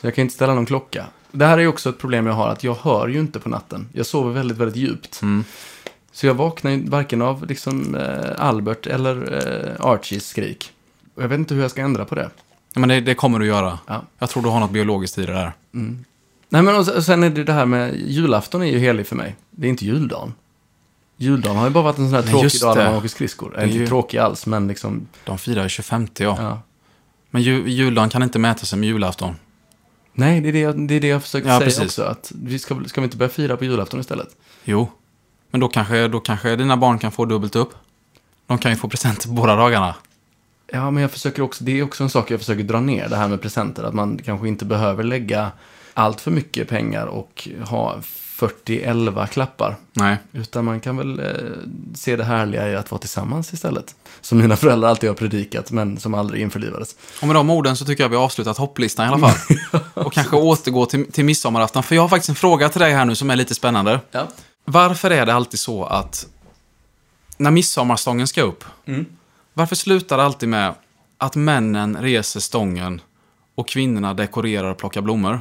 Så jag kan ju inte ställa någon klocka. Det här är ju också ett problem jag har, att jag hör ju inte på natten. Jag sover väldigt, väldigt djupt. Mm. Så jag vaknar ju varken av liksom, eh, Albert eller eh, Archies skrik. Och jag vet inte hur jag ska ändra på det. Ja, men det, det kommer du göra. Ja. Jag tror du har något biologiskt i det där. Nej, men och s- och sen är det ju det här med julafton är ju helig för mig. det är inte juldagen. Juldagen har ju bara varit en sån här Nej, tråkig just dag när det. man åker skridskor. är Eller inte ju- tråkig alls, men liksom, De firar ju 25, ja. ja. Men ju, juldagen kan inte mäta sig med julafton. Nej, det är det jag, det är det jag försöker Ja, säga precis. också. Att vi ska, väl- ska vi inte börja fira på julafton istället? Jo. Men då kanske, då kanske dina barn kan få dubbelt upp. De kan ju få presenter båda dagarna. Ja, men jag försöker också, det är också en sak jag försöker dra ner, det här med presenter. Att man kanske inte behöver lägga allt för mycket pengar och ha 40-11 klappar. Nej. Utan man kan väl eh, se det härliga i att vara tillsammans istället. Som mina föräldrar alltid har predikat, men som aldrig införlivades. Och med de orden så tycker jag vi har avslutat hopplistan i alla fall. Och kanske återgår till, till midsommarafton. För jag har faktiskt en fråga till dig här nu som är lite spännande. Ja. Varför är det alltid så att när midsommarstången ska upp, varför slutar det alltid med att männen reser stången och kvinnorna dekorerar och plockar blommor?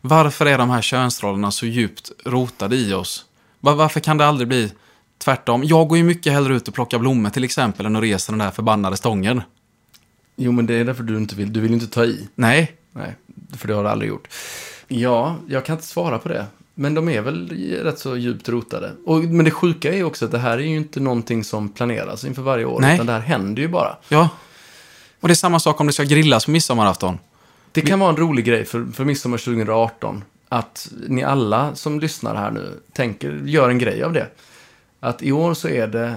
Varför är de här könsrollerna så djupt rotade i oss? Va- Varför kan det aldrig bli tvärtom? Jag går ju mycket hellre ut och plockar blommor till exempel än att resa den där förbannade stången. Jo, men det är därför du inte vill, du vill ju inte ta i. Nej, Nej, för det har du aldrig gjort. Ja, jag kan inte svara på det. Men de är väl rätt så djupt rotade. Och, men det sjuka är ju också att det här är ju inte någonting som planeras inför varje år. Nej. Utan det här händer ju bara. ja. Och det är samma sak om det ska grillas på midsommarafton. Det kan vara en rolig grej för, för midsommar 2018. Att ni alla som lyssnar här nu tänker, gör en grej av det. Att i år så är det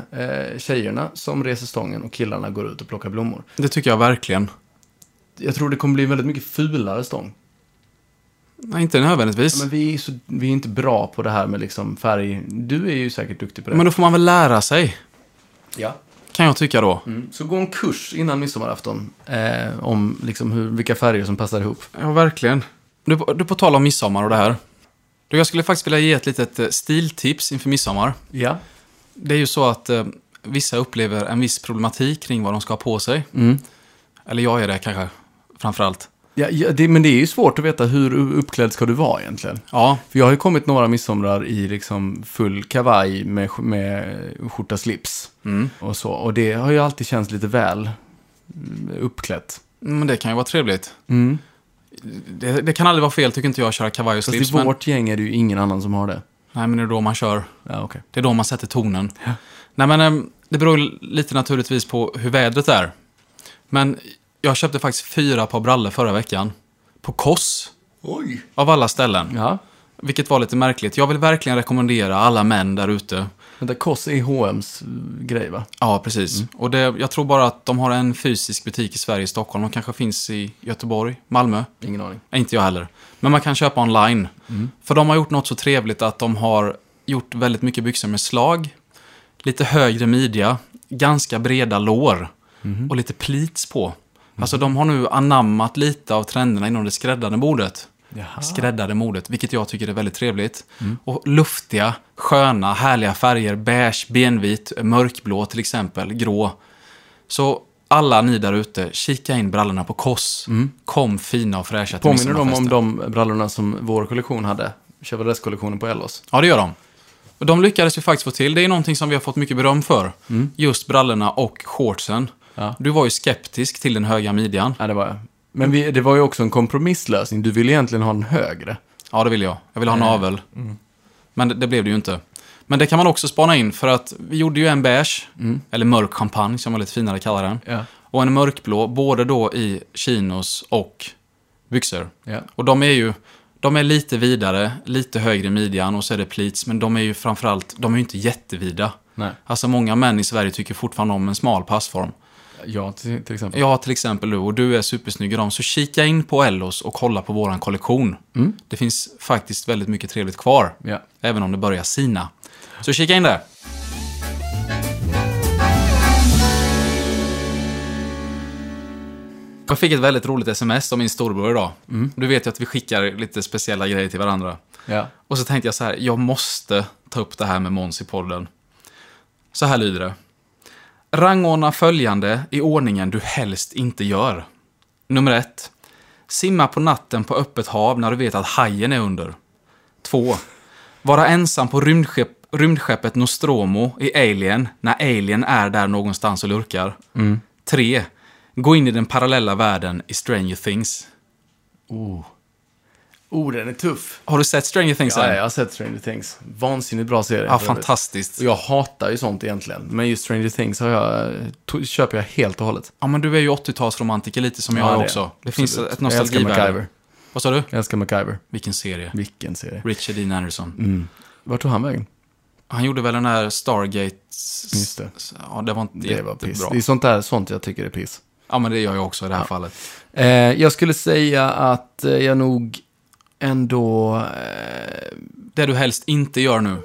eh, tjejerna som reser stången och killarna går ut och plockar blommor. Det tycker jag verkligen. Jag tror det kommer bli en väldigt mycket fulare stång. Nej, inte nödvändigtvis. Men vi är, så, vi är inte bra på det här med liksom färg. Du är ju säkert duktig på det. Men då får man väl lära sig. ja. Kan jag tycka då. Mm. Så gå en kurs innan midsommarafton eh, om liksom hur, vilka färger som passar ihop. Ja, verkligen. Du, du på tal om midsommar och det här. Du, jag skulle faktiskt vilja ge ett litet eh, stiltips inför midsommar. Ja. Det är ju så att eh, vissa upplever en viss problematik kring vad de ska ha på sig. Mm. Eller jag är det kanske, framförallt. ja, ja det, men det är ju svårt att veta hur u- uppklädd ska du vara egentligen. Ja, För jag har ju kommit några midsomrar i liksom full kavaj med, sk- med skjorta slips. Mm. Och så. Och det har ju alltid känts lite väl mm, uppklätt. Mm. men det kan ju vara trevligt. Det, det kan aldrig vara fel, tycker inte jag, att köra kavaj och Fast slips. i Men, vårt gäng är det ju ingen annan som har det. nej, men det är då man kör. Ja, okej. Det är då man sätter tonen. Ja. Nej, men eh, det beror ju lite naturligtvis på hur vädret är. Men jag köpte faktiskt fyra par brallor förra veckan. På Koss, Oj! av alla ställen. Ja. Vilket var lite märkligt. Jag vill verkligen rekommendera alla män där ute. Vänta, Koss är H&M's eh, grej va? Ja, precis. Och det, jag tror bara att de har en fysisk butik i Sverige, i Stockholm. De kanske finns i Göteborg, Malmö. Ingen aning. Nej, Inte jag heller. Men man kan köpa online. För de har gjort något så trevligt att de har gjort väldigt mycket byxor med slag. Lite högre midja, ganska breda lår och lite pleats på. Alltså de har nu anammat lite av trenderna inom det skräddade modet. Jaha. skräddade modet, vilket jag tycker är väldigt trevligt. Och luftiga, sköna, härliga färger. Beige, benvit, mörkblå till exempel, grå. Så alla ni där ute, kika in brallorna på Koss. Kom fina och fräscha till Mm. Påminner de om midsommarfesten. de brallorna som vår kollektion hade? Chevalettskollektionen på Ellos. Ja, det gör de. Och de lyckades ju faktiskt få till. Det är någonting som vi har fått mycket beröm för. Just brallorna och shortsen. Mm. Ja. Du var ju skeptisk till den höga midjan. Ja, det var jag. Men vi, det var ju också en kompromisslösning. Du ville egentligen ha den högre. Ja, det vill jag. Jag vill ha Eh, navel. mm. Men det, det blev det ju inte. Men det kan man också spana in för att vi gjorde ju en beige, eller mörk champagne som man lite finare kallar den. Mm. Ja. Och en mörkblå, både då i chinos och byxor. ja. Och de är ju de är lite vidare, lite högre i midjan och så är det pleats, men de är ju framförallt, de är ju inte jättevida. Nej. Alltså många män i Sverige tycker fortfarande om en smal passform. Ja, till, till exempel. Ja, till exempel du och du är supersnygg i dem. Så kika in på Ellos och kolla på våran kollektion. Det finns faktiskt väldigt mycket trevligt kvar. Ja. Även om det börjar sina. Så kika in där. Jag fick ett väldigt roligt sms av min storbror idag. Du vet ju att vi skickar lite speciella grejer till varandra. Ja. Och så tänkte jag så här, jag måste ta upp det här med Måns i podden. Så här lyder det. Rangordna följande i ordningen du helst inte gör. Nummer ett. Simma på natten på öppet hav när du vet att hajen är under. Två. Vara ensam på rymdskepp, rymdskeppet Nostromo i Alien när Alien är där någonstans och lurkar. Mm. Tre. Gå in i den parallella världen i Stranger Things. Oh. Oh, den är tuff. Har du sett Stranger Things Ja, än? jag har sett Stranger Things. Vansinnigt bra serie. Ja, för övrigt. fantastiskt. Och jag hatar ju sånt egentligen. Men just Stranger Things har jag, to- köper jag helt och hållet. Ja, men du är ju 80-talsromantiker lite som Ja, jag det är också. jag. Det finns Absolut. ett Jag älskar nostalgivärde. MacGyver. Vad sa du? Jag älskar MacGyver. Vilken serie? Vilken serie. Richard Dean Anderson. Mm. Vart tog han vägen? Han gjorde väl den där Stargate... Just det. Ja, det var inte Det var jättebra. piss. Det är sånt där sånt jag tycker är piss. Ja, men det gör jag också i det här fallet. Eh, jag skulle säga att eh, jag nog ändå... Eh, Det du helst inte gör nu.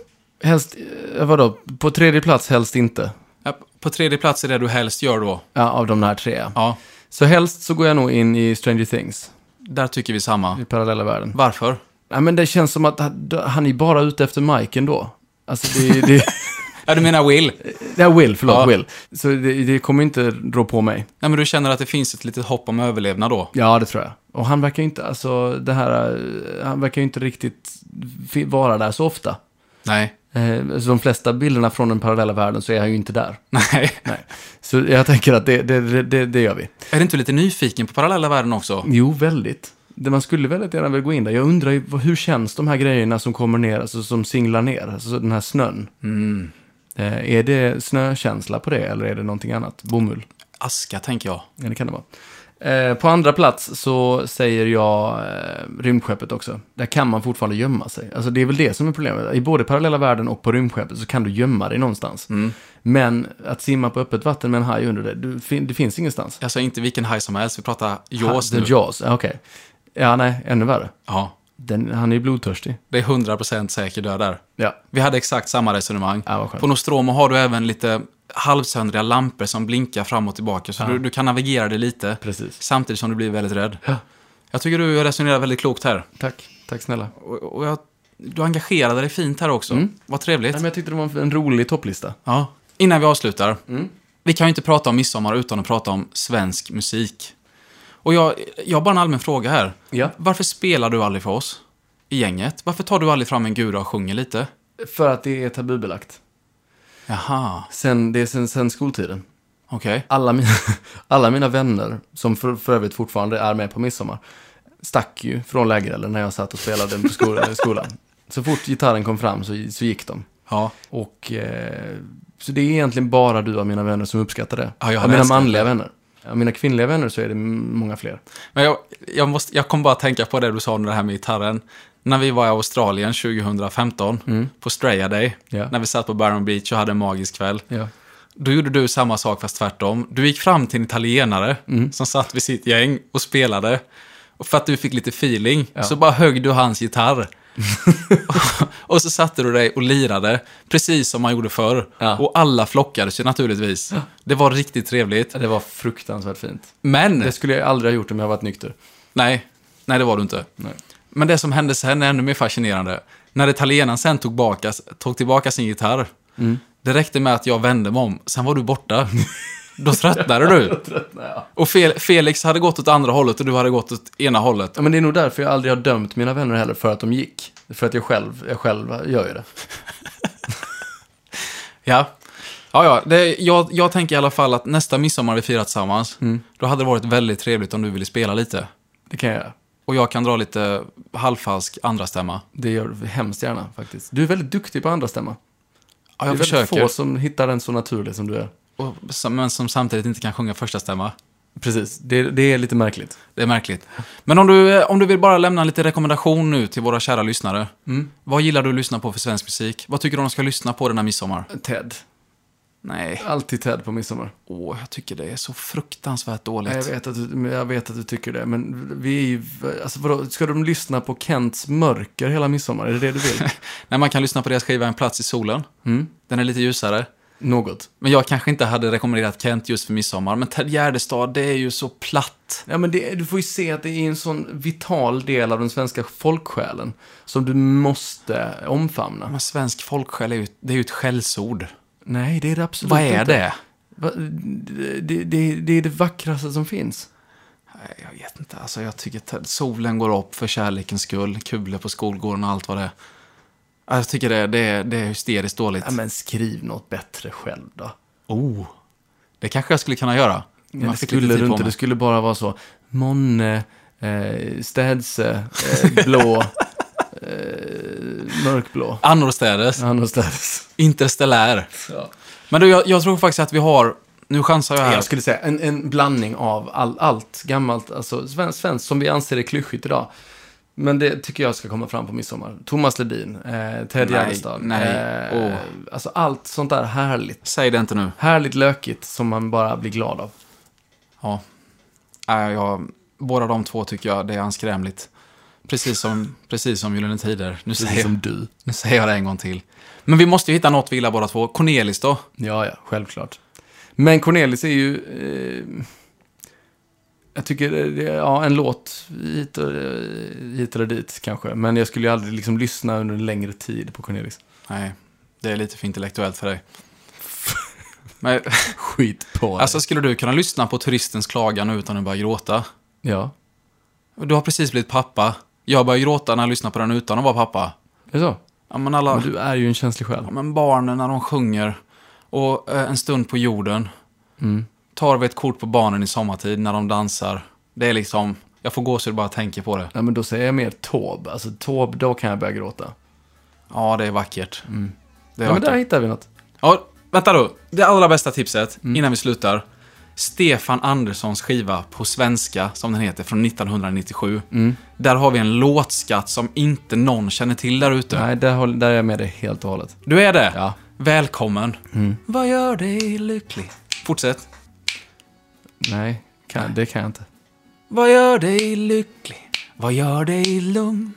helst... Eh, vadå? På tredje plats helst inte. Ja, på tredje plats är det du helst gör då. Ja, av de här tre. Ja, Så helst så går jag nog in i Stranger Things. där tycker vi samma. I parallella världen. Varför? Nej, men det känns som att han- han är bara ute efter Mike ändå. Alltså, det, det, Ja, du menar Will? det är Will, förlåt, Ja. Will. Så det, det kommer inte rå på mig. Nej, men du känner att det finns ett litet hopp om överlevnad då? Ja, det tror jag. Och han verkar ju inte, alltså, det här, eh, han verkar ju inte riktigt fi- vara där så ofta. Nej. Eh, alltså, de flesta bilderna från den parallella världen så är han ju inte där. Nej. Nej. Så jag tänker att det, det, det- det, det gör vi. Är du inte lite nyfiken på parallella världen också? Jo, väldigt. Det man skulle väldigt gärna vilja gå in där. Jag undrar ju, vad- hur känns de här grejerna som kommer ner, alltså som singlar ner, alltså den här snön? Mm. Eh, är det snökänsla på det eller är det någonting annat? Bomull? Aska, tänker jag. Ja, det kan det vara. Eh, på andra plats så säger jag eh, rymdskeppet också. Där kan man fortfarande gömma sig. Alltså det är väl det som är problemet. I både parallella världen och på rymdskeppet så kan du gömma dig någonstans. Men att simma på öppet vatten med en haj under dig, du, fin- det finns ingenstans. Alltså inte vilken haj som helst, vi pratar Jaws Ha- nu. The Jaws, ja, okej. Ja, nej, ännu värre. Ja, Den, han är ju blodtörstig. det är 100% säker död där. Ja, Vi hade exakt samma resonemang. ja vad skönt. På Nostromo har du även lite halvsöndriga lampor som blinkar fram och tillbaka, så du, du kan navigera dig lite Precis. samtidigt som du blir väldigt rädd. Ja. Jag tycker du resonerar väldigt klokt här. Tack, tack snälla. Och, och jag, du engagerade dig fint här också. Vad trevligt. Mm. Nej, men jag tyckte det var en rolig topplista. Ja. Innan vi avslutar. Mm. Vi kan ju inte prata om midsommar utan att prata om svensk musik. Och jag, jag har bara en allmän fråga här. Ja. Varför spelar du aldrig för oss i gänget? Varför tar du aldrig fram en gura och sjunger lite? För att det är tabubelagt. Jaha, Sen, det är sen, sen skoltiden. okej. Alla mina, alla mina vänner, som för, för övrigt fortfarande är med på midsommar, stack ju från lägerelden när jag satt och spelade på sko- skolan. Så fort gitarren kom fram så, så gick de. Ja. Och, eh, så det är egentligen bara du av mina vänner som uppskattar det. Ja, jag hade av mina älskat manliga vänner. Av mina kvinnliga vänner så är det m- många fler. Men jag, jag, måste, jag kom bara att tänka på det du sa om det här med gitarren. När vi var i Australien 2015 på Straya Day, Mm. Ja. när vi satt på Byron Beach och hade en magisk kväll. Ja. Då gjorde du samma sak fast tvärtom. Du gick fram till en italienare Mm. som satt vid sitt gäng och spelade. Och för att du fick lite feeling så bara högg du hans gitarr. och, och så satte du dig och lirade, precis som man gjorde förr. Ja. Och alla flockade sig naturligtvis. Det var riktigt trevligt. Det var fruktansvärt fint. Men, Det skulle jag aldrig ha gjort om jag varit nykter. nej, nej det var du inte. Nej. Men det som hände sen är ännu mer fascinerande. När italienaren sen tog, baka, tog tillbaka sin gitarr, Mm. det räckte med att jag vände mig om, sen var du borta. Då tröttnade du. Och Fel- Felix hade gått åt andra hållet och du hade gått åt ena hållet. Ja, men det är nog därför jag aldrig har dömt mina vänner heller, för att de gick. För att jag själv, jag själv gör ju det. Ja. Ja, ja. Det, jag, jag tänker i alla fall att nästa midsommar vi firar tillsammans, Mm. då hade det varit väldigt trevligt om du ville spela lite. Det kan jag göra. Och jag kan dra lite halvfalsk andra stämma. Det gör du hemskt gärna faktiskt. Du är väldigt duktig på andra stämma. det Ja, jag är väldigt försöker. få som hittar den så naturlig som du är. Och, som- men som samtidigt inte kan sjunga första stämma. Precis, det, det är lite märkligt. Det är märkligt. Men om du, eh, om du vill bara lämna lite rekommendation nu till våra kära lyssnare. mm, Vad gillar du att lyssna på för svensk musik? Vad tycker du de ska lyssna på den här midsommar? Ted. Nej, Alltid Ted på midsommar. åh, jag tycker det är så fruktansvärt dåligt. Jag vet, att du, men jag vet att du tycker det, men vi är ju... Alltså, vadå, ska de lyssna på Kents mörker hela midsommar? Är det det du vill? Nej, man kan lyssna på deras skiva En plats i solen. Mm, Den är lite ljusare. Något. Men jag kanske inte hade rekommenderat Kent just för midsommar. Men Ted Gärdestad, det är ju så platt. Ja, men det, du får ju se att det är en sån vital del av den svenska folksjälen som du måste omfamna. Men svensk folksjäl är ju, det är ju ett skällsord. Nej, det är det absolut Vad är inte. det? Va? Det, det, det, det är det vackraste som finns. Nej, jag vet inte. Alltså, jag tycker att solen går upp för kärlekens skull. Kulor på skolgården och allt vad det är. Ja, Jag tycker det, det, är- det är hysteriskt dåligt. Ja, men skriv något bättre själv då. Oh. Det kanske jag skulle kunna göra. om Men jag det fick skulle lite tid du på inte, mig. det skulle bara vara så. Monne, eh, städse, eh, blå, eh, mörkblå. Annorstädes. Han och städse. Interstellär. Ja. Men du, jag, jag tror faktiskt att vi har... Nu chansar jag här. Jag skulle säga en, en blandning av all, allt gammalt, alltså svenskt, svenskt som vi anser är klyschigt idag. Men det tycker jag ska komma fram på midsommar. Thomas Ledin, eh, Ted Nej, Gärdestad. nej, eh, åh. Alltså allt sånt där härligt. Säg det inte nu. Härligt lökigt som man bara blir glad av. Ja. Äh, jag, båda de två tycker jag det är anskrämligt. Precis som, precis som Gyllene Tider. Nu säger, Precis som du. nu säger jag det en gång till. Men vi måste ju hitta något vi gillar båda två. Cornelis då? Ja, ja, självklart. Men Cornelis är ju... Eh, jag tycker det är ja, en låt hit, och, eh, hit eller dit kanske. Men jag skulle ju aldrig liksom lyssna under en längre tid på Cornelis. Nej, det är lite för intellektuellt för dig. Men, Skit på dig. alltså, skulle du kunna lyssna på turistens klagan utan att börja gråta? Ja, Du har precis blivit pappa. Jag börjar gråta när jag lyssnar på den utan att vara pappa. är det så? Ja, men alla... Men du är ju en känslig själ. Ja, men barnen när de sjunger och eh, en stund på jorden. Mm. Tar vi ett kort på barnen i sommartid när de dansar. Det är liksom, jag får gåshud bara jag tänker på det. Ja, men då säger jag mer Taube. Alltså Taube, då kan jag börja gråta. Ja, det är vackert. Det är Mm. Ja, men vackert. där hittar vi något. Ja, vänta då. Det allra bästa tipset innan vi slutar. Stefan Anderssons skiva på svenska, som den heter, från 1997. Mm. Där har vi en låtskatt som inte någon känner till där ute. Nej, där, håll- där är jag med dig helt och hållet. Du är det? Ja. Mm. Välkommen. Vad gör dig lycklig? Fortsätt. Nej, kan, det kan jag inte. Vad gör dig lycklig? Vad gör dig lugn?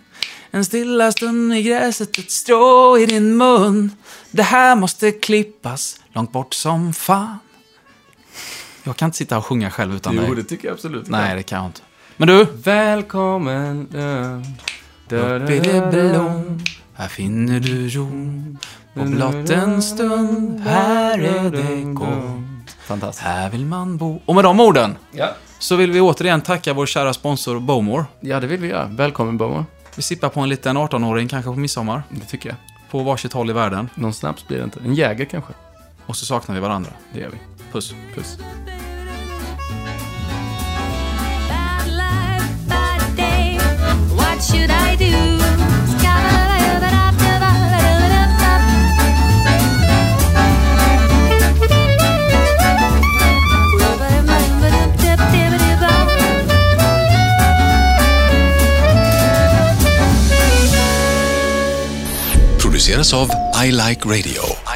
En stilla stund i gräset, ett strå i din mun. Det här måste klippas långt bort som fan. Jag kan inte sitta och sjunga själv utan dig. tycker jag absolut. Nej, det kan jag inte. Men du. Välkommen dö, dö, Uppe i det blå, här finner du ro. Och blott en stund, här är det gott. Fantastiskt. Här vill man bo. Och med de orden Ja. så vill vi återigen tacka vår kära sponsor Bowmore. ja, det vill vi göra. Välkommen Bomo. Vi sippar på en liten 18-åring kanske på midsommar. Det tycker jag. på varsitt håll i världen Någon snaps blir det inte. En jäger kanske. och så saknar vi varandra. Det gör vi. Puss. Puss. Bad life, bad day. What should I do? Scabalabalabalabalabalab. Rubbadubadubadubdubdubadubab. produceras av I Like Radio.